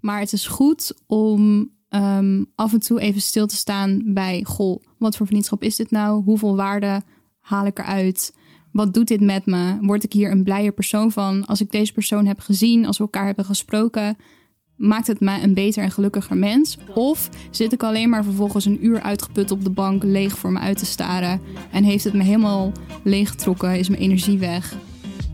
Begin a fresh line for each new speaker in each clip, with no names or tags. Maar het is goed om ehm, af en toe even stil te staan bij... goh, wat voor vriendschap is dit nou? Hoeveel waarde haal ik eruit? Wat doet dit met me? Word ik hier een blijer persoon van? Als ik deze persoon heb gezien, als we elkaar hebben gesproken... maakt het mij een beter en gelukkiger mens? Of zit ik alleen maar vervolgens een uur uitgeput op de bank... leeg voor me uit te staren? En heeft het me helemaal leeggetrokken? Is mijn energie weg?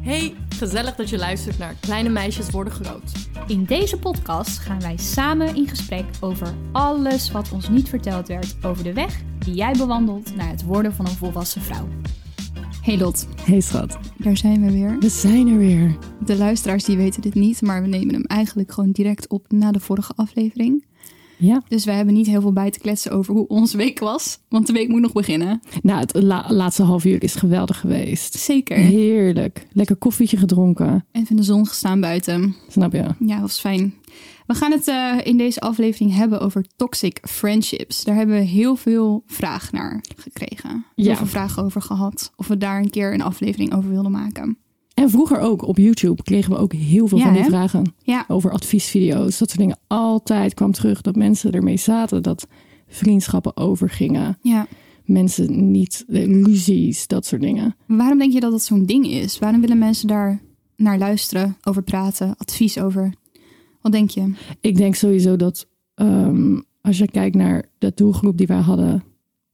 Hey, gezellig dat je luistert naar Kleine Meisjes Worden Groot.
In deze podcast gaan wij samen in gesprek over alles wat ons niet verteld werd over de weg die jij bewandelt naar het worden van een volwassen vrouw.
Hey Lot,
Hey schat,
daar zijn we weer.
we zijn er weer.
De luisteraars die weten dit niet, maar we nemen hem eigenlijk gewoon direct op na de vorige aflevering.
Ja.
Dus wij hebben niet heel veel bij te kletsen over hoe onze week was, want de week moet nog beginnen.
Nou, het la- laatste half uur is geweldig geweest.
Zeker.
Heerlijk. Lekker koffietje gedronken.
Even in de zon gestaan buiten.
Snap je?
Ja, was fijn. We gaan het eh, in deze aflevering hebben over toxic friendships. Daar hebben we heel veel vraag naar gekregen. Heel
Ja.
veel vragen over gehad. Of we daar een keer een aflevering over wilden maken.
En vroeger ook op YouTube kregen we ook heel veel
Ja,
van die
hè?
vragen
Ja,
over adviesvideo's. Dat soort dingen. Altijd kwam terug dat mensen ermee zaten dat vriendschappen overgingen.
ja.
Mensen niet, eh, ruzies, dat soort dingen.
Waarom denk je dat dat zo'n ding is? Waarom willen mensen daar naar luisteren, over praten, advies over? Wat denk je?
Ik denk sowieso dat ehm, als je kijkt naar de doelgroep die wij hadden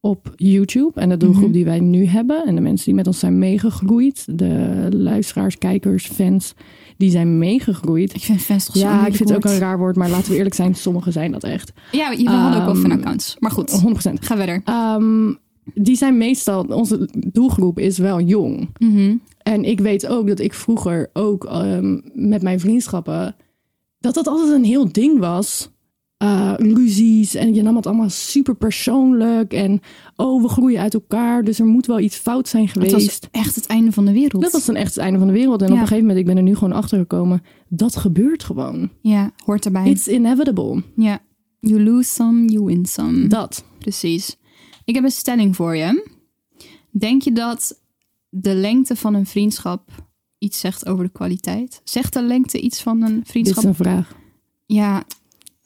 op YouTube en de doelgroep
Mhm.
die wij nu hebben en de mensen die met ons zijn meegegroeid, de luisteraars, kijkers, fans, die zijn meegegroeid.
Ik vind fans toch zo'n
ja, ik
moeilijk
vind het ook
woord.
een raar woord, maar laten we eerlijk zijn, sommigen zijn dat echt.
Ja, we hadden ook wel
Ehm,
fanaccounts. Maar goed,
100%.
ga verder.
Ehm, die zijn meestal, onze doelgroep is wel jong.
Mhm.
En ik weet ook dat ik vroeger ook ehm, met mijn vriendschappen... dat dat altijd een heel ding was. Eh, ruzies en je nam het allemaal super persoonlijk. En oh, we groeien uit elkaar, dus er moet wel iets fout zijn
Het
geweest.
was echt het einde van de wereld.
Dat was dan echt het einde van de wereld. En
Ja.
op een gegeven moment, ik ben er nu gewoon achter gekomen. Dat gebeurt gewoon.
Ja, hoort erbij.
It's inevitable.
Ja. You lose some, you win some.
Dat.
Precies. Ik heb een stelling voor je. Denk je dat de lengte van een vriendschap iets zegt over de kwaliteit? Zegt de lengte iets van een
Dit is
vriendschap
een vraag.
Ja,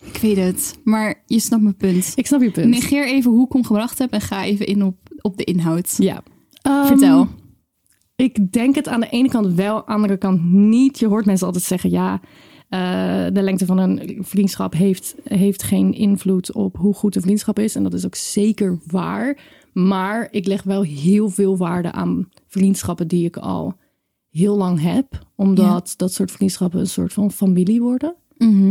ik weet het. Maar je snapt mijn punt.
Ik snap je punt.
Negeer even hoe ik hem gebracht heb en ga even in op, op de inhoud.
Ja. Ehm,
Vertel.
Ik denk het aan de ene kant wel, aan de andere kant niet. Je hoort mensen altijd zeggen, ja, eh, de lengte van een vriendschap heeft, heeft geen invloed op hoe goed de vriendschap is. En dat is ook zeker waar. Maar ik leg wel heel veel waarde aan vriendschappen die ik al heel lang heb. Omdat dat soort vriendschappen een soort van familie worden. Mhm.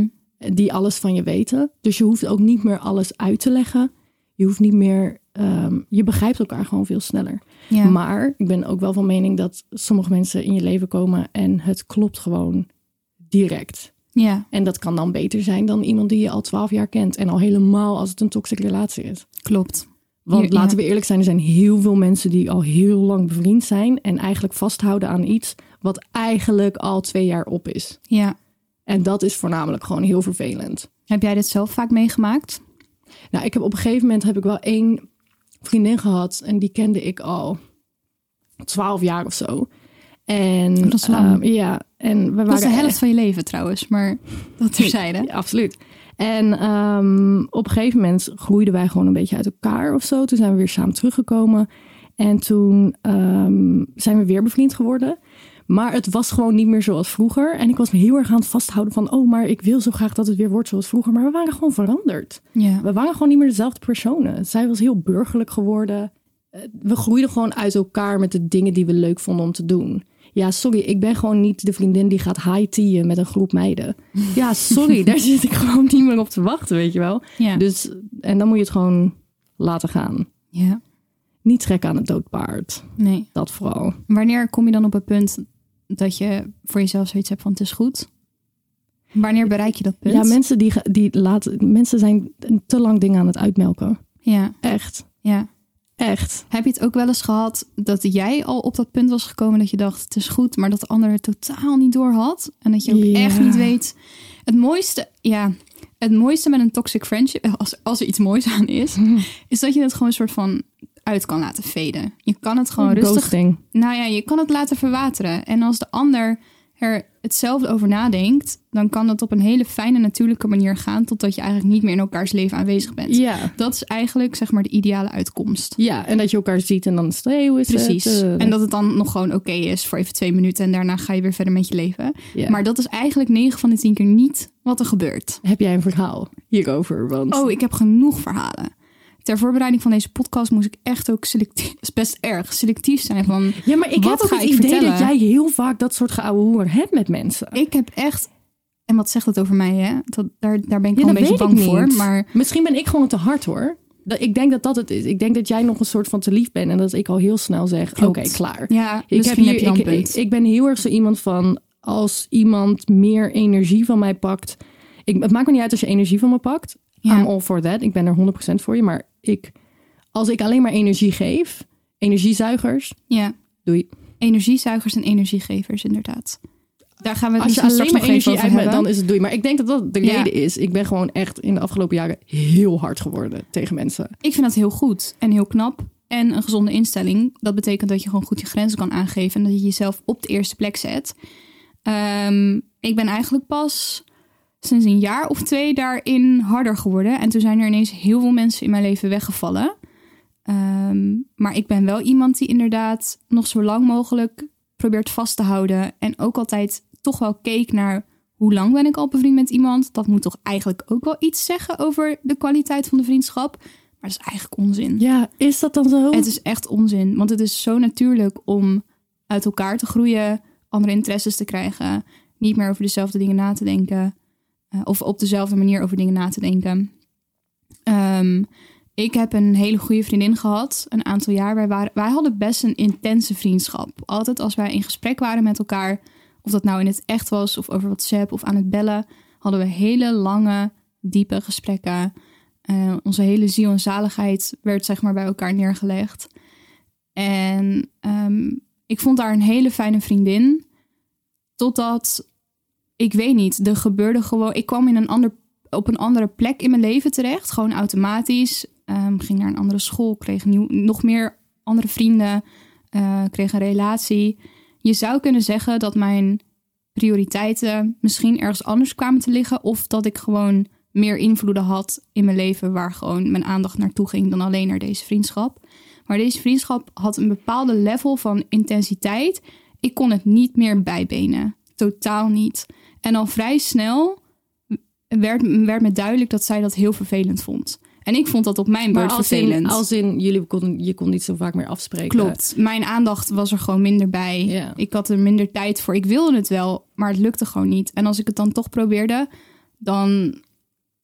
Die alles van je weten. Dus je hoeft ook niet meer alles uit te leggen. Je hoeft niet meer... ehm, je begrijpt elkaar gewoon veel sneller.
Ja.
Maar ik ben ook wel van mening dat sommige mensen in je leven komen en het klopt gewoon direct.
ja,
En dat kan dan beter zijn dan iemand die je al twaalf jaar kent. En al helemaal als het een toxic relatie is.
klopt.
Want
Ja, ja.
laten we eerlijk zijn, er zijn heel veel mensen die al heel lang bevriend zijn. En eigenlijk vasthouden aan iets wat eigenlijk al twee jaar op is.
Ja.
En dat is voornamelijk gewoon heel vervelend.
Heb jij dit zelf vaak meegemaakt?
Nou, ik heb op een gegeven moment heb ik wel één vriendin gehad en die kende ik al twaalf jaar of zo. En
Oh, dat is lang.
ehm, ja, en we
Dat is de
waren
helft van je leven trouwens, maar dat terzijde.
ja, absoluut. En ehm, op een gegeven moment groeiden wij gewoon een beetje uit elkaar of zo. Toen zijn we weer samen teruggekomen. En toen ehm, zijn we weer bevriend geworden. Maar het was gewoon niet meer zoals vroeger. En ik was me heel erg aan het vasthouden van... oh, maar ik wil zo graag dat het weer wordt zoals vroeger. Maar we waren gewoon veranderd.
Ja.
We waren gewoon niet meer dezelfde personen. Zij was heel burgerlijk geworden. Eh, We groeiden gewoon uit elkaar met de dingen die we leuk vonden om te doen. Ja, sorry, ik ben gewoon niet de vriendin die gaat high-teaen met een groep meiden. Ja, sorry, daar zit ik gewoon niet meer op te wachten, weet je wel.
Ja.
Dus, en dan moet je het gewoon laten gaan.
ja.
Niet trekken aan het doodpaard.
Nee.
Dat vooral.
Wanneer kom je dan op het punt dat je voor jezelf zoiets hebt van het is goed? Wanneer bereik je dat punt?
Ja, mensen, die, ge- die laten, mensen zijn te lang dingen aan het uitmelken.
ja,
Echt.
ja.
Echt.
Heb je het ook wel eens gehad dat jij al op dat punt was gekomen dat je dacht, het is goed, maar dat de ander het totaal niet door had? En dat je ook
Ja.
echt niet weet. Het mooiste, ja, het mooiste met een toxic friendship, eh, als, als er iets moois aan is, is dat je het gewoon een soort van uit kan laten veden. Je kan het gewoon rustig
Ghosting.
Nou ja, je kan het laten verwateren. En als de ander er hetzelfde over nadenkt, dan kan dat op een hele fijne, natuurlijke manier gaan. Totdat je eigenlijk niet meer in elkaars leven aanwezig bent.
Ja.
Dat is eigenlijk zeg maar de ideale uitkomst.
Ja, en dat je elkaar ziet en dan is het, hey, hoe is
Precies.
het? Eh,
En dat het dan nog gewoon oké is voor even twee minuten. En daarna ga je weer verder met je leven.
ja.
Maar dat is eigenlijk 9 van de 10 keer niet wat er gebeurt.
heb jij een verhaal hierover? Want
Oh, ik heb genoeg verhalen. Ter voorbereiding van deze podcast moest ik echt ook selectief, is best erg selectief zijn. Van
ja, maar ik
wat
heb ook
ga
het
ik
idee dat
vertellen?
jij heel vaak dat soort geouwehoer hebt met mensen.
Ik heb echt. En wat zegt dat over mij, hè? Dat, daar, daar ben ik wel
dat
een beetje
weet ik
bang
niet.
voor. Maar
Misschien ben ik gewoon te hard hoor. Dat, ik denk dat dat het is. Ik denk dat jij nog een soort van te lief bent en dat ik al heel snel zeg: oké,
Klopt.
klaar.
ja,
Ik, heb
misschien
hier,
heb, je dan
ik,
een
ik,
punt.
ik ben heel erg zo iemand van als iemand meer energie van mij pakt. Ik, het maakt me niet uit als je energie van me pakt.
Ja.
I'm all for that. Ik ben er 100% voor je. Maar ik, als ik alleen maar energie geef, energiezuigers,
ja,
doei.
energiezuigers en energiegevers, inderdaad. Daar gaan we het
Als je
misschien
alleen
straks
maar
nog even
energie
over
uit me,
hebben.
dan is het doei. Maar ik denk dat dat de
Ja.
reden is. Ik ben gewoon echt in de afgelopen jaren heel hard geworden tegen mensen.
Ik vind dat heel goed en heel knap. En een gezonde instelling. Dat betekent dat je gewoon goed je grenzen kan aangeven. En dat je jezelf op de eerste plek zet. Ehm, ik ben eigenlijk pas sinds een jaar of twee daarin harder geworden. En toen zijn er ineens heel veel mensen in mijn leven weggevallen. Ehm, maar ik ben wel iemand die inderdaad nog zo lang mogelijk probeert vast te houden. En ook altijd toch wel keek naar hoe lang ben ik al bevriend met iemand. Dat moet toch eigenlijk ook wel iets zeggen over de kwaliteit van de vriendschap. Maar dat is eigenlijk onzin.
Ja, is dat dan zo?
Het is echt onzin. Want het is zo natuurlijk om uit elkaar te groeien, andere interesses te krijgen, niet meer over dezelfde dingen na te denken. eh, of op dezelfde manier over dingen na te denken. Ehm, ik heb een hele goede vriendin gehad, een aantal jaar. Wij, waren, wij hadden best een intense vriendschap. Altijd als wij in gesprek waren met elkaar, of dat nou in het echt was, of over WhatsApp of aan het bellen, hadden we hele lange, diepe gesprekken. Eh, onze hele ziel en zaligheid werd zeg maar bij elkaar neergelegd. En ehm, ik vond daar een hele fijne vriendin. Totdat, ik weet niet, er gebeurde gewoon... Ik kwam in een ander, op een andere plek in mijn leven terecht. Gewoon automatisch. Ehm, ging naar een andere school. Kreeg nieuw, nog meer andere vrienden. eh, kreeg een relatie. Je zou kunnen zeggen dat mijn prioriteiten misschien ergens anders kwamen te liggen. Of dat ik gewoon meer invloeden had in mijn leven waar gewoon mijn aandacht naartoe ging dan alleen naar deze vriendschap. Maar deze vriendschap had een bepaalde level van intensiteit. Ik kon het niet meer bijbenen. Totaal niet. En al vrij snel werd, werd me duidelijk dat zij dat heel vervelend vond. En ik vond dat op mijn beurt
maar als in,
vervelend.
als in jullie konden, je kon niet zo vaak meer afspreken.
Klopt. Mijn aandacht was er gewoon minder bij.
Ja.
Ik had er minder tijd voor. Ik wilde het wel, maar het lukte gewoon niet. En als ik het dan toch probeerde, dan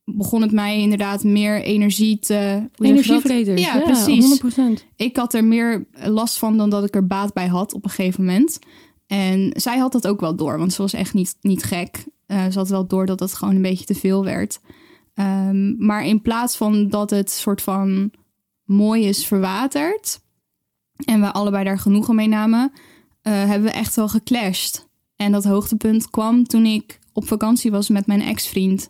begon het mij inderdaad meer energie te... hoe zeg je dat?
Energievreters.
Ja, precies.
100%.
Ik had er meer last van dan dat ik er baat bij had op een gegeven moment. En zij had dat ook wel door, want ze was echt niet, niet gek. Eh, ze had wel door dat het gewoon een beetje te veel werd. Ehm, maar in plaats van dat het soort van mooi is verwaterd... en we allebei daar genoegen mee namen... eh, hebben we echt wel geclashed. En dat hoogtepunt kwam toen ik op vakantie was met mijn ex-vriend.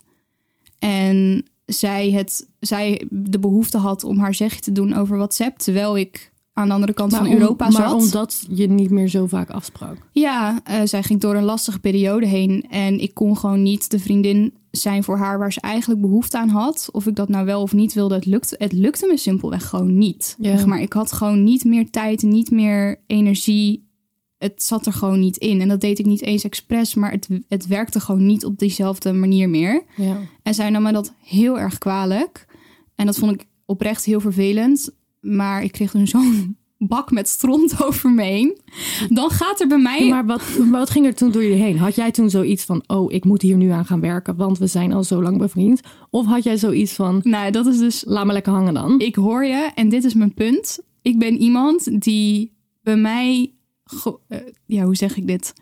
En zij, het, zij de behoefte had om haar zegje te doen over WhatsApp... terwijl ik aan de andere kant
Maar,
van
om-
Europa zat.
maar omdat je niet meer zo vaak afsprak.
Ja, eh, zij ging door een lastige periode heen. En ik kon gewoon niet de vriendin zijn voor haar waar ze eigenlijk behoefte aan had. Of ik dat nou wel of niet wilde, het lukte, het lukte me simpelweg gewoon niet.
Ja.
Zeg maar ik had gewoon niet meer tijd, niet meer energie. Het zat er gewoon niet in. En dat deed ik niet eens expres, maar het, het werkte gewoon niet op diezelfde manier meer.
Ja.
En zij nam me dat heel erg kwalijk. En dat vond ik oprecht heel vervelend. Maar ik kreeg toen zo'n bak met stront over me heen. Dan gaat er bij mij...
Maar wat, wat ging er toen door je heen? Had jij toen zoiets van, oh, ik moet hier nu aan gaan werken, want we zijn al zo lang bevriend? Of had jij zoiets van,
Nou, dat is dus.
laat me lekker hangen dan?
Ik hoor je en dit is mijn punt. Ik ben iemand die bij mij. ge- eh, ja, hoe zeg ik dit?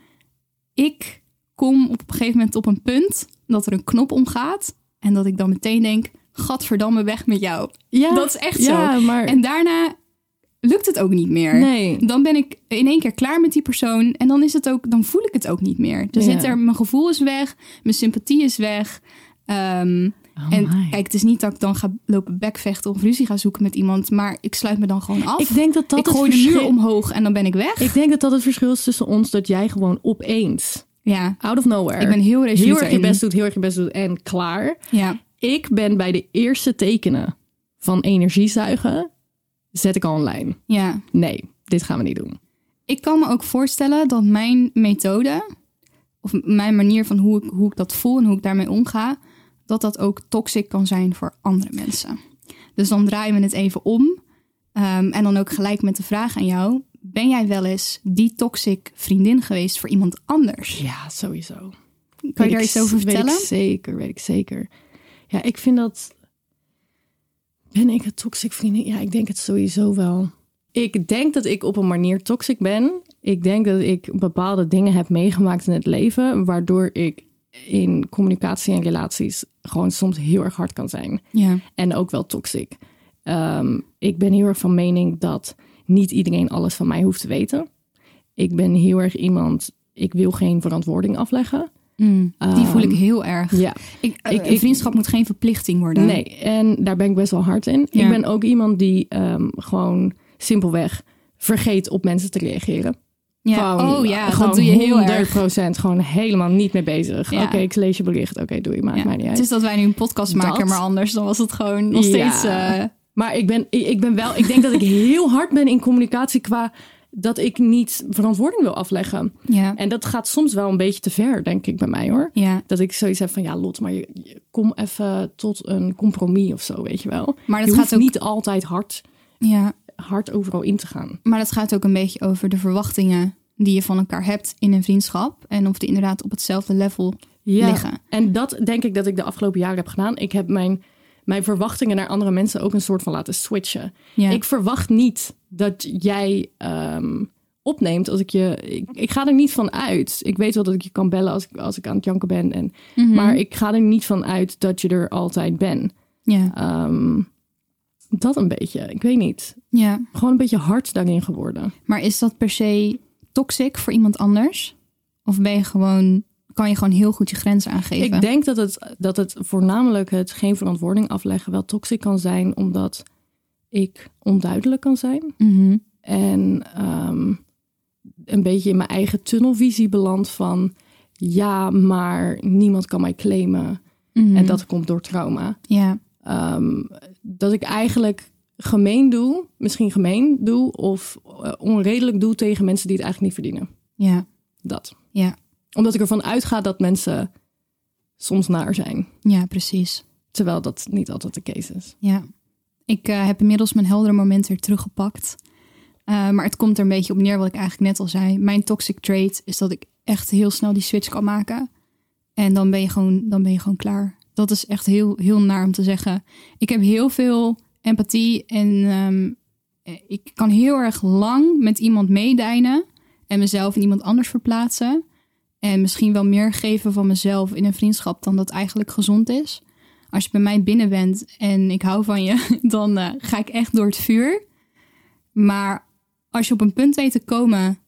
Ik kom op een gegeven moment op een punt dat er een knop omgaat. En dat ik dan meteen denk, gadverdamme weg met jou.
Ja,
dat is echt
ja,
zo.
maar-
En daarna lukt het ook niet meer.
Nee.
Dan ben ik in één keer klaar met die persoon. En dan is het ook, dan voel ik het ook niet meer. Dan
Ja.
zit er, mijn gevoel is weg, mijn sympathie is weg. Ehm, en
Oh my.
kijk, het is niet dat ik dan ga lopen bekvechten of ruzie ga zoeken met iemand. Maar ik sluit me dan gewoon af.
Ik denk dat dat
ik
het
gooi de
verschil-
muur omhoog en dan ben ik weg.
Ik denk dat dat het verschil is tussen ons. Dat jij gewoon opeens,
ja,
out of nowhere.
Ik ben heel resoluut
Heel erg je
daarin.
best doet, heel erg je best doet en klaar.
ja.
Ik ben bij de eerste tekenen van energiezuigen, zet ik al een lijn.
Ja,
Nee, dit gaan we niet doen.
ik kan me ook voorstellen dat mijn methode, of m- mijn manier van hoe ik, hoe ik dat voel en hoe ik daarmee omga, dat dat ook toxic kan zijn voor andere mensen. Dus dan draaien we het even om. ehm, en dan ook gelijk met de vraag aan jou: ben jij wel eens die toxic vriendin geweest voor iemand anders?
Ja, sowieso.
Kan je
Weet
daar
ik
iets over
z-
vertellen?
Weet ik zeker, weet ik zeker. Ja, ik vind dat... Ben ik een toxic vriendin? Ja, ik denk het sowieso wel. Ik denk dat ik op een manier toxic ben. Ik denk dat ik bepaalde dingen heb meegemaakt in het leven... waardoor ik in communicatie en relaties gewoon soms heel erg hard kan zijn.
Ja,
En ook wel toxic. Ehm, ik ben heel erg van mening dat niet iedereen alles van mij hoeft te weten. Ik ben heel erg iemand... Ik wil geen verantwoording afleggen.
Mm. die voel ik heel erg.
Ja.
Ik,
Ik-
een
Ehm, eh, ik-
vriendschap moet geen verplichting worden.
Nee, en daar ben ik best wel hard in.
Ja.
Ik ben ook iemand die ehm, gewoon simpelweg vergeet op mensen te reageren.
Ja.
Gewoon-
oh ja,
gewoon
dat doe je heel erg.
100% gewoon helemaal niet mee bezig.
Ja.
Oké, ik lees je bericht. Oké, doe je, maakt
Ja.
mij niet
Het
uit.
is dat wij nu een podcast
Dat-
maken, maar anders dan was het gewoon nog
Ja.
steeds. eh,
Maar ik ben, ik, ik ben wel, ik denk dat ik heel hard ben in communicatie qua dat ik niet verantwoording wil afleggen.
ja.
En dat gaat soms wel een beetje te ver, denk ik, bij mij hoor.
ja.
Dat ik zoiets heb van, ja Lot, maar je, je- kom even tot een compromis of zo, weet je wel.
Maar dat
je
gaat
hoeft
ook-
niet altijd hard
Ja,
hard overal in te gaan.
maar dat gaat ook een beetje over de verwachtingen die je van elkaar hebt in een vriendschap. En of die inderdaad op hetzelfde level liggen.
En dat denk ik dat ik de afgelopen jaren heb gedaan. Ik heb mijn, mijn verwachtingen naar andere mensen ook een soort van laten switchen.
Ja.
Ik verwacht niet dat jij ehm, opneemt als ik je. Ik, ik ga er niet van uit. Ik weet wel dat ik je kan bellen als ik, als ik aan het janken ben. En, Maar ik ga er niet van uit dat je er altijd bent.
Ja,
Ehm, dat een beetje. Ik weet niet.
ja.
Gewoon een beetje hard daarin geworden.
Maar is dat per se toxic voor iemand anders? Of ben je gewoon, kan je gewoon heel goed je grenzen aangeven?
Ik denk dat het, dat het voornamelijk het geen verantwoording afleggen wel toxic kan zijn, omdat ik onduidelijk kan zijn
Mhm.
en ehm, een beetje in mijn eigen tunnelvisie beland van ja, maar niemand kan mij claimen
Mhm.
en dat komt door trauma.
Ja,
Ehm, dat ik eigenlijk gemeen doe, misschien gemeen doe of eh, onredelijk doe tegen mensen die het eigenlijk niet verdienen.
ja,
Dat.
ja,
Omdat ik ervan uitga dat mensen soms naar zijn.
ja, precies.
Terwijl dat niet altijd de case is.
Ja, ik eh, heb inmiddels mijn heldere moment weer teruggepakt. Eh, maar het komt er een beetje op neer wat ik eigenlijk net al zei. Mijn toxic trait is dat ik echt heel snel die switch kan maken. En dan ben je gewoon, dan ben je gewoon klaar. Dat is echt heel, heel naar om te zeggen. Ik heb heel veel empathie en ehm, eh, ik kan heel erg lang met iemand meedijnen. En mezelf in iemand anders verplaatsen. En misschien wel meer geven van mezelf in een vriendschap dan dat eigenlijk gezond is als je bij mij binnen bent en ik hou van je, dan eh, ga ik echt door het vuur. Maar als je op een punt weet te komen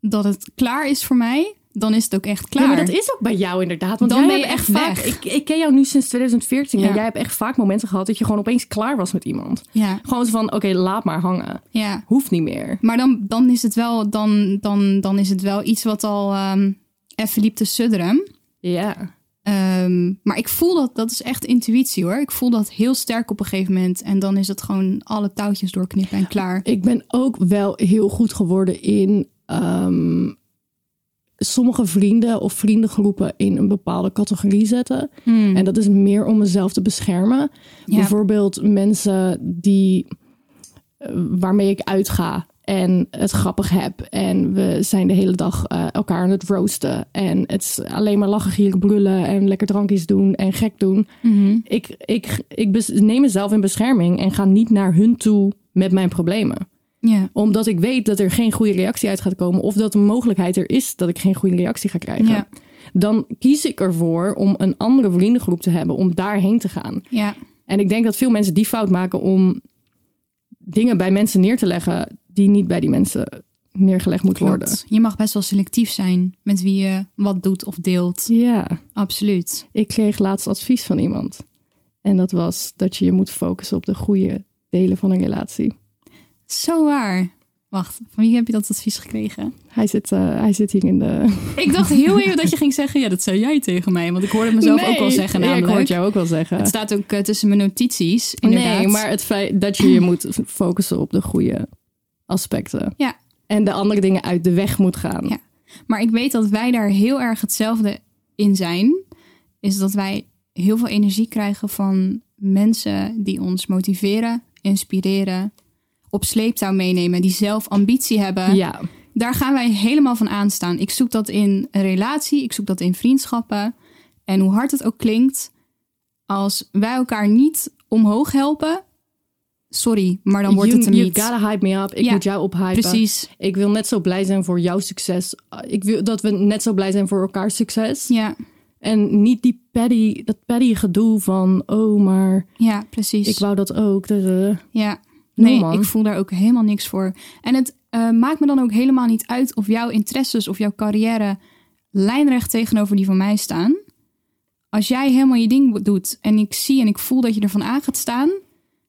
dat het klaar is voor mij, dan is het ook echt klaar.
Ja, maar dat is ook bij jou inderdaad. Want
Dan
jij
ben je
hebt
echt
vaak.
weg.
Ik, ik ken jou nu sinds 2014.
Ja.
En jij hebt echt vaak momenten gehad dat je gewoon opeens klaar was met iemand.
Ja,
Gewoon zo van: oké, laat maar hangen.
ja.
Hoeft niet meer.
Maar dan, dan, is het wel, dan, dan, dan is het wel iets wat al ehm, even liep te sudderen.
Ja.
Ehm, maar ik voel dat, dat is echt intuïtie hoor. Ik voel dat heel sterk op een gegeven moment. En dan is het gewoon alle touwtjes doorknippen en klaar.
Ik ben ook wel heel goed geworden in. ehm, sommige vrienden of vriendengroepen in een bepaalde categorie zetten. En dat is meer om mezelf te beschermen.
Hmm. Ja.
Bijvoorbeeld mensen die eh, waarmee ik uitga en het grappig heb. En we zijn de hele dag eh, elkaar aan het roosten. En het is alleen maar lachen, gieren, brullen en lekker drankjes doen en gek doen.
Mhm.
Ik, ik, ik bes- neem mezelf in bescherming en ga niet naar hun toe met mijn problemen
Ja,
omdat ik weet dat er geen goede reactie uit gaat komen. Of dat de mogelijkheid er is dat ik geen goede reactie ga krijgen.
Ja.
dan kies ik ervoor om een andere vriendengroep te hebben, om daarheen te gaan.
Ja.
En ik denk dat veel mensen die fout maken om dingen bij mensen neer te leggen die niet bij die mensen neergelegd moeten worden.
Klopt. Je mag best wel selectief zijn met wie je wat doet of deelt.
Ja,
Absoluut.
ik kreeg laatst advies van iemand. En dat was dat je je moet focussen op de goede delen van een relatie.
Zo waar. Wacht, van wie heb je dat advies gekregen?
Hij zit, eh, hij zit hier in de.
Ik dacht heel even dat je ging zeggen, ja, dat zei jij tegen mij. Want ik hoorde het mezelf ook wel zeggen
Ja, ik
namelijk.
hoor het jou ook wel zeggen.
Het staat ook eh, tussen mijn notities, inderdaad.
Nee, maar het feit dat je je moet focussen op de goede aspecten.
Ja.
En de andere dingen uit de weg moet gaan.
Ja. Maar ik weet dat wij daar heel erg hetzelfde in zijn. Is dat wij heel veel energie krijgen van mensen die ons motiveren, inspireren, op sleeptouw meenemen, die zelf ambitie hebben.
Ja.
Daar gaan wij helemaal van aanstaan. Ik zoek dat in een relatie, ik zoek dat in vriendschappen. En hoe hard het ook klinkt, als wij elkaar niet omhoog helpen, sorry, maar dan wordt
you,
het hem
you
niet.
gotta hype me up. Ik
Ja,
moet jou ophypen.
Precies.
Ik wil net zo blij zijn voor jouw succes. Ik wil dat we net zo blij zijn voor elkaars succes.
Ja,
En niet die petty, dat petty gedoe van... Oh, maar
ja, precies.
ik wou dat ook. Dat, eh.
Ja,
No,
nee,
man.
ik voel daar ook helemaal niks voor. En het eh, maakt me dan ook helemaal niet uit of jouw interesses of jouw carrière lijnrecht tegenover die van mij staan. Als jij helemaal je ding doet en ik zie en ik voel dat je ervan aan gaat staan,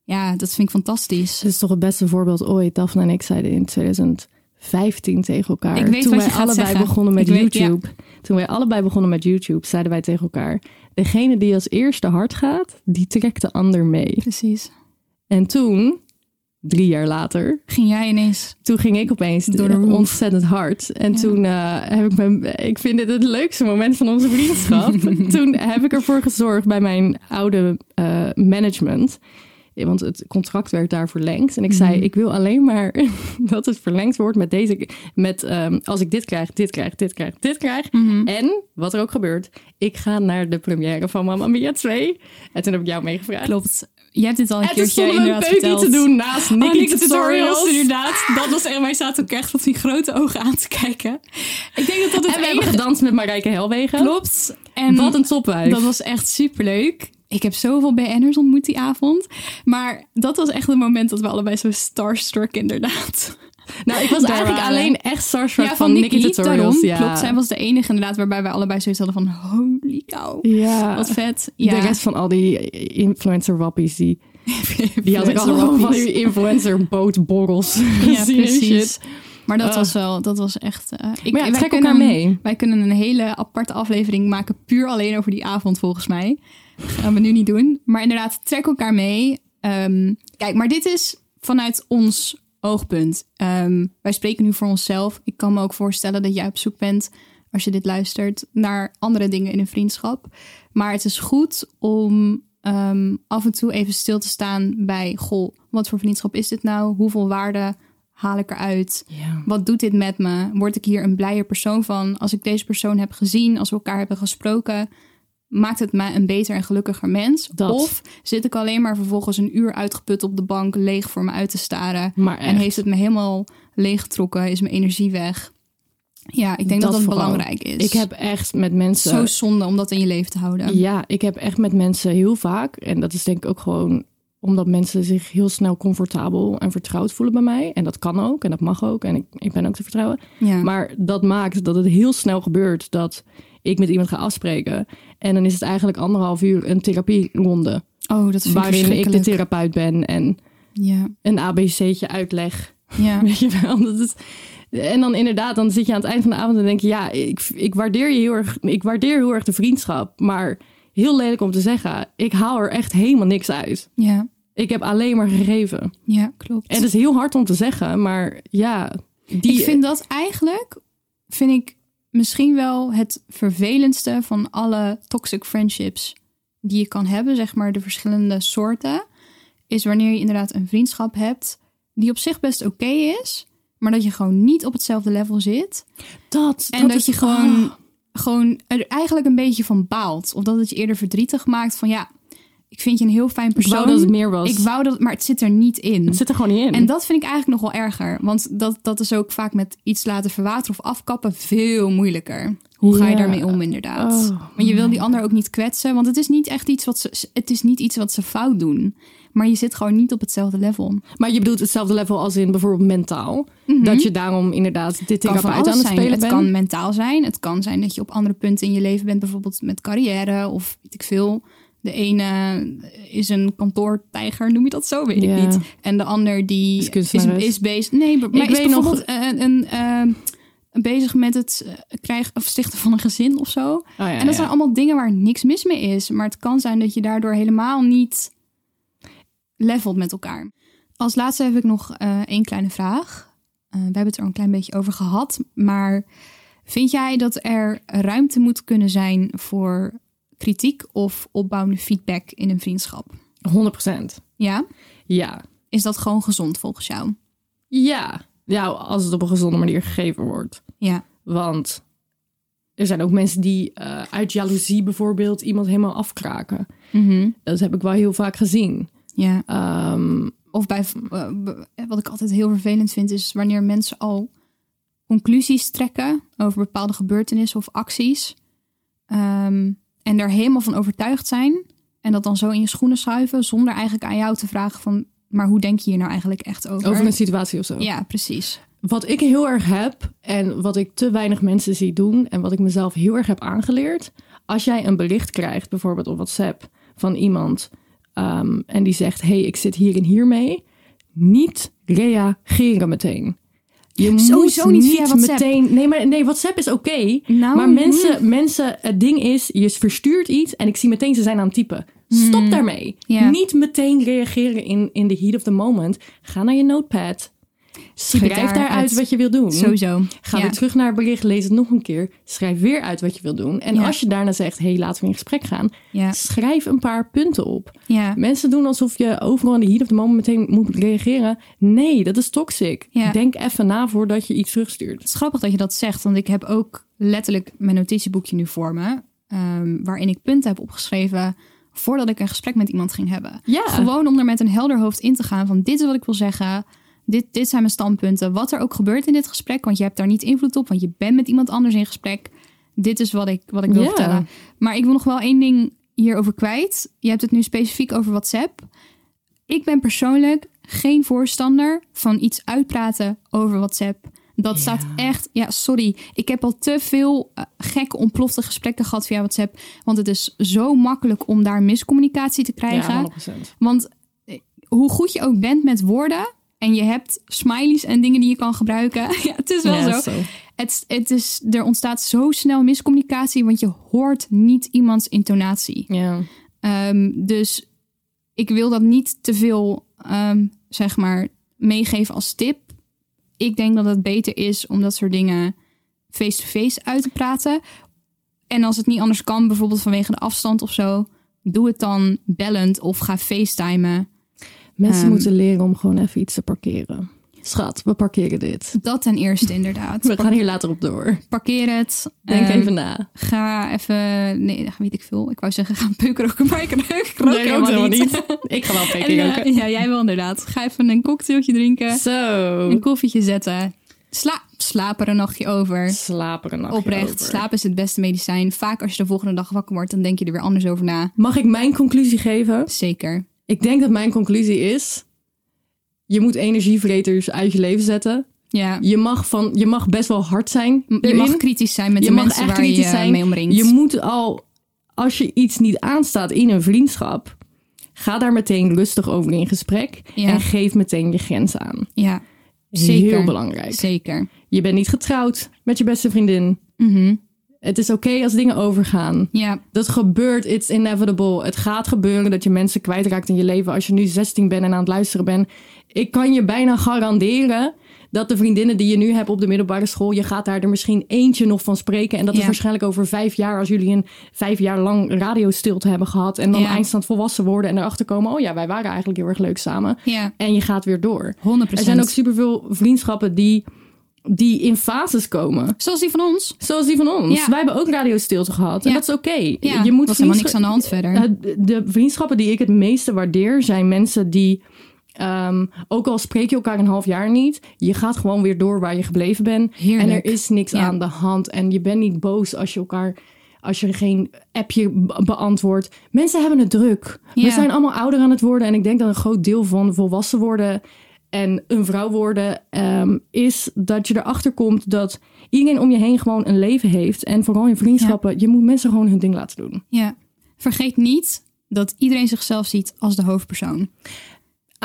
ja, dat vind ik fantastisch.
Ze is toch het beste voorbeeld ooit. Daphne en ik zeiden in 2015 tegen elkaar.
Ik weet
toen
wat
wij
je gaat
allebei
zeggen.
begonnen met
Ik weet-
YouTube. Toen wij allebei begonnen met YouTube, zeiden wij tegen elkaar: degene die als eerste hard gaat, die trekt de ander mee.
Precies.
En toen, drie jaar later,
Ging jij ineens?
toen ging ik opeens
Door de roof.
ontzettend hard. En toen eh, heb ik mijn. Ik vind dit het leukste moment van onze vriendschap. toen heb ik ervoor gezorgd bij mijn oude eh, management. Ja, Want het contract werd daar verlengd. En ik
Mhm.
zei: Ik wil alleen maar dat het verlengd wordt met deze. Met ehm, als ik dit krijg, dit krijg, dit krijg, dit krijg.
Mhm.
En wat er ook gebeurt, ik ga naar de première van Mamma Mia 2. En toen heb ik jou meegevraagd.
Klopt. Jij hebt dit al een
En toen
keertje
stonden we een
inderdaad
peukie
verteld.
te doen naast Nicky,
Oh, Nicky
tutorials.
tutorials, inderdaad. Dat was echt, wij zaten ook echt met die grote ogen aan te kijken. Ik denk dat dat het
En we hebben
enige-
gedanst met Marijke Helwegen.
Klopt. En
Wat een topwijf.
Dat was echt superleuk. Ik heb zoveel BN'ers ontmoet die avond. Maar dat was echt het moment dat we allebei zo starstruck inderdaad.
Nou, ik was
Daar
eigenlijk
waren we.
alleen echt starstruck van, Nikki Tutorials.
daarom.
ja.
Klopt, zij was de enige inderdaad waarbij wij allebei zoiets hadden van holy cow.
Ja.
Wat vet. Ja.
De rest van al die influencer wappies, die, die had ik
Influencer
allemaal van
wappies.
die influencer bootborrels
Ja,
gezien en
precies.
shit.
Maar dat
Ah.
was wel, dat was echt... eh, ik,
Maar ja,
wij
trek
kunnen
elkaar
een-
mee.
Wij kunnen een hele aparte aflevering maken, puur alleen over die avond volgens mij. gaan we nu niet doen. Maar inderdaad, trek elkaar mee. Ehm, kijk, maar dit is vanuit ons oogpunt. Ehm, wij spreken nu voor onszelf. Ik kan me ook voorstellen dat jij op zoek bent, als je dit luistert, naar andere dingen in een vriendschap. Maar het is goed om ehm, af en toe even stil te staan bij: goh, wat voor vriendschap is dit nou? Hoeveel waarde haal ik eruit? Wat doet dit met me? Word ik hier een blijer persoon van? Als ik deze persoon heb gezien, als we elkaar hebben gesproken, maakt het mij een beter en gelukkiger mens?
Dat.
Of zit ik alleen maar vervolgens een uur uitgeput op de bank, leeg voor me uit te staren?
Maar
En
echt.
heeft het me helemaal leeggetrokken? Is mijn energie weg? Ja, ik denk dat dat,
vooral.
belangrijk is.
Ik heb echt met mensen...
zo zonde om dat in je leven te houden.
Ja, ik heb echt met mensen heel vaak, en dat is denk ik ook gewoon omdat mensen zich heel snel comfortabel en vertrouwd voelen bij mij. En dat kan ook en dat mag ook en ik, ik ben ook te vertrouwen.
Ja.
Maar dat maakt dat het heel snel gebeurt dat ik met iemand ga afspreken. En dan is het eigenlijk anderhalf uur een therapieronde.
Oh, dat vind ik
Waarin ik de
verschrikkelijk.
therapeut ben en
Ja,
een ABC'tje uitleg.
ja.
Weet je wel, dat is... En dan inderdaad, dan zit je aan het eind van de avond en denk je... ja, ik, ik, waardeer, je heel erg, ik waardeer heel erg de vriendschap. Maar heel lelijk om te zeggen, ik haal er echt helemaal niks uit.
ja,
Ik heb alleen maar gegeven.
ja, klopt.
En het is heel hard om te zeggen, maar ja... Die,
Ik vind dat eigenlijk, vind ik misschien wel het vervelendste van alle toxic friendships die je kan hebben, zeg maar de verschillende soorten, is wanneer je inderdaad een vriendschap hebt die op zich best oké is, maar dat je gewoon niet op hetzelfde level zit
dat, Ah.
en dat, je gewoon, gewoon er eigenlijk een beetje van baalt. Of dat het je eerder verdrietig maakt van ja, ik vind je een heel fijn
Ik
persoon.
wou dat het meer was.
Ik wou dat, maar het zit er niet in.
Het zit er gewoon niet in.
En dat vind ik eigenlijk nog wel erger. Want dat, dat is ook vaak met iets laten verwateren of afkappen veel moeilijker. Hoe ga je
Ja.
daarmee om, inderdaad?
Oh,
want je wil die ander ook niet kwetsen. Want het is niet echt iets wat ze, het is niet iets wat ze fout doen. Maar je zit gewoon niet op hetzelfde level.
Maar je bedoelt hetzelfde level als in bijvoorbeeld mentaal. Dat je daarom inderdaad dit
Het
ding
Mhm. kan
op
van
uit
alles
aan het
zijn.
spelen
Het
bent.
kan mentaal zijn. Het kan zijn dat je op andere punten in je leven bent. Bijvoorbeeld met carrière of weet ik veel. De ene is een kantoortijger, noem je dat zo? Weet
Ja.
ik niet. En de ander die
Is
is,
kunstenares.
is, bezig... Nee, maar maar
Ik
is
weet nog-
bijvoorbeeld een, een, ehm, bezig met het eh, krijgen of stichten van een gezin of zo.
Oh, ja,
en dat
ja.
zijn allemaal dingen waar niks mis mee is. Maar het kan zijn dat je daardoor helemaal niet levelt met elkaar. Als laatste heb ik nog eh één kleine vraag. Eh, we hebben het er al een klein beetje over gehad. Maar vind jij dat er ruimte moet kunnen zijn voor kritiek of opbouwende feedback in een vriendschap?
100%.
Ja?
Ja.
Is dat gewoon gezond volgens jou?
Ja. Ja, als het op een gezonde manier gegeven wordt.
Ja.
Want er zijn ook mensen die eh, uit jaloezie bijvoorbeeld iemand helemaal afkraken.
Mhm.
Dat heb ik wel heel vaak gezien.
Ja.
Ehm,
Of bij, eh, b- wat ik altijd heel vervelend vind, is wanneer mensen al conclusies trekken over bepaalde gebeurtenissen of acties. ehm, en daar helemaal van overtuigd zijn. En dat dan zo in je schoenen schuiven, zonder eigenlijk aan jou te vragen van, maar hoe denk je hier nou eigenlijk echt over?
over een situatie of zo.
Ja, precies.
Wat ik heel erg heb en wat ik te weinig mensen zie doen en wat ik mezelf heel erg heb aangeleerd. Als jij een bericht krijgt, bijvoorbeeld op WhatsApp, van iemand ehm, en die zegt: hey, ik zit hier en hier mee. Niet reageren meteen. Je
Sowieso
moet
niet via WhatsApp.
meteen. Nee, maar nee, WhatsApp is oké.
Nou,
maar mensen, mensen, het ding is, je verstuurt iets en ik zie meteen ze zijn aan het typen. Stop daarmee.
Mm. Ja.
Niet meteen reageren in, in the heat of the moment. Ga naar je notepad. Schrijf
daar
daaruit
het-
wat je wil doen.
Sowieso.
Ga
ja.
weer terug naar Hm. het bericht, lees het nog een keer. Schrijf weer uit wat je wil doen. En
Ja.
als je daarna zegt, hé, hey, laten we in gesprek gaan.
Ja.
Schrijf een paar punten op.
Ja.
Mensen doen alsof je overal in de heat of the moment meteen moet reageren. Nee, dat is toxic.
Ja.
Denk even na voordat je iets terugstuurt.
Het is grappig dat je dat zegt, want ik heb ook letterlijk mijn notitieboekje nu voor me. ehm, waarin ik punten heb opgeschreven voordat ik een gesprek met iemand ging hebben.
Ja.
Gewoon om er met een helder hoofd in te gaan van dit is wat ik wil zeggen. Dit, dit zijn mijn standpunten. Wat er ook gebeurt in dit gesprek, want je hebt daar niet invloed op, want je bent met iemand anders in gesprek. Dit is wat ik, wat ik wil
Ja.
vertellen. Maar ik wil nog wel één ding hierover kwijt. Je hebt het nu specifiek over WhatsApp. Ik ben persoonlijk geen voorstander van iets uitpraten over WhatsApp. Dat staat echt, ja, sorry. Ik heb al te veel eh, gekke, ontplofte gesprekken gehad via WhatsApp. Want het is zo makkelijk om daar miscommunicatie te krijgen.
Ja, 100%.
Want eh, hoe goed je ook bent met woorden. En je hebt smileys en dingen die je kan gebruiken. Ja, het is wel
Ja,
zo. Het, het is, er ontstaat zo snel miscommunicatie, want je hoort niet iemands intonatie.
Ja.
Ehm, dus ik wil dat niet te veel, ehm, zeg maar, meegeven als tip. Ik denk dat het beter is om dat soort dingen face-to-face uit te praten. En als het niet anders kan, bijvoorbeeld vanwege de afstand of zo, doe het dan bellend of ga facetimen.
Mensen
Ehm,
moeten leren om gewoon even iets te parkeren. Schat, we parkeren dit.
Dat ten eerste, inderdaad.
We gaan hier later op door.
Parkeer het.
Denk
Ehm,
even na.
Ga even. Nee, weet ik veel. Ik wou zeggen, ga peuken roken, maar ik rook rook helemaal, niet.
Ik ga wel
En,
peking
eh, ja, jij wel inderdaad. Ga even een cocktailtje drinken.
Zo.
Een koffietje zetten. Sla slaap er een nachtje over.
Slapen een nachtje
Oprecht,
over.
slaap is het beste medicijn. Vaak als je de volgende dag wakker wordt, dan denk je er weer anders over na.
Mag ik mijn conclusie geven?
Zeker.
Ik denk dat mijn conclusie is... Je moet energievreters uit je leven zetten.
Ja.
Je mag, van, je mag best wel hard zijn.
Je
erin.
mag kritisch zijn met
Je
de
mag
mensen
echt
waar je eh,
kritisch zijn.
mee omringt.
Je moet al... Als je iets niet aanstaat in een vriendschap... Ga daar meteen rustig over in gesprek.
Ja.
En geef meteen je grens aan.
ja, Zeker.
Heel belangrijk.
zeker.
Je bent niet getrouwd met je beste vriendin.
Mhm.
Het is oké als dingen overgaan.
Ja,
Dat gebeurt, it's inevitable. Het gaat gebeuren dat je mensen kwijtraakt in je leven. Als je nu 16 bent en aan het luisteren bent. Ik kan je bijna garanderen dat de vriendinnen die je nu hebt op de middelbare school... je gaat daar er misschien eentje nog van spreken. En dat is
Ja.
waarschijnlijk over vijf jaar... als jullie een vijf jaar lang radiostilte hebben gehad... en dan
Ja.
eindstand volwassen worden en erachter komen... oh ja, wij waren eigenlijk heel erg leuk samen.
ja, 100%.
En je gaat weer door.
Er
Er zijn ook superveel vriendschappen die die in fases komen.
Zoals die van ons.
Zoals die van ons.
Ja.
Wij hebben ook radiostilte gehad. En
Ja.
dat is oké.
Ja,
Je moet
was helemaal
vriendschap-
niks aan de hand verder.
Eh, de vriendschappen die ik het meeste waardeer zijn mensen die, ehm, ook al spreek je elkaar een half jaar niet, je gaat gewoon weer door waar je gebleven bent.
Heerlijk.
En er is niks
Ja.
aan de hand. En je bent niet boos als je elkaar. Als je geen appje be- beantwoordt. Mensen hebben het druk.
Ja.
We zijn allemaal ouder aan het worden. En ik denk dat een groot deel van volwassen worden en een vrouw worden. ehm, is dat je erachter komt dat iedereen om je heen gewoon een leven heeft. En vooral in vriendschappen. Je moet mensen gewoon hun ding laten doen.
Ja. Vergeet niet dat iedereen zichzelf ziet als de hoofdpersoon.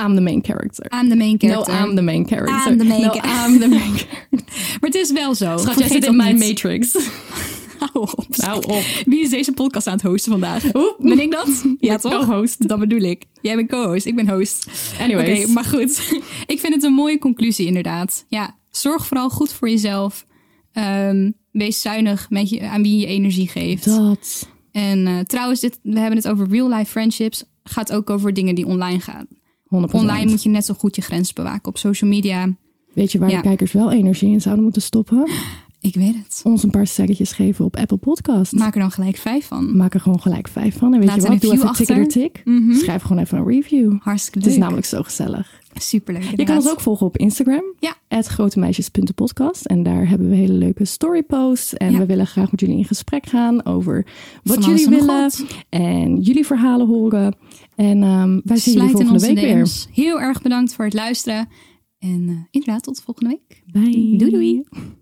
I'm the main character.
Aan de main character.
No, I'm the main character.
I'm the main
no,
cha-
I'm the main character.
Maar het is wel zo.
Schat, jij
Vergeet
zit
dat
in mijn
niet.
matrix.
Hou op.
Hou op.
Wie is deze podcast aan het hosten vandaag? Ben ik dat? Ja, toch?
co-host.
Dat bedoel ik. Jij bent co-host, ik ben host.
Anyways.
Oké, maar goed. ik vind het een mooie conclusie inderdaad. Ja, zorg vooral goed voor jezelf. Ehm, wees zuinig met je, aan wie je energie geeft.
Dat.
En eh, trouwens, dit, we hebben het over real-life friendships. Gaat ook over dingen die online gaan.
100%.
Online moet je net zo goed je grens bewaken. Op social media,
Weet je waar
Ja.
de kijkers wel energie in zouden moeten stoppen?
ik weet het.
Ons een paar sterretjes geven op Apple Podcast.
Maak er dan gelijk vijf van.
Maak er gewoon gelijk vijf van. En weet
Laat
je
een
wat? Doe even
review
tik
achter.
door tik. Schrijf gewoon even een review.
Hartstikke
Het
leuk.
is namelijk zo gezellig.
Superleuk.
Je kan
inderdaad.
ons ook volgen op Instagram.
Ja.
grotemeisjes.podcast. En daar hebben we hele leuke storyposts. En
Ja.
we willen graag met jullie in gesprek gaan over wat
Van alles
jullie
en nog
willen.
wat.
En jullie verhalen horen. En ehm, wij zien jullie
Slijt in
volgende
onze
week weer.
DM's. Heel erg bedankt voor het luisteren. En eh, inderdaad, tot volgende week.
Bye.
Doei doei.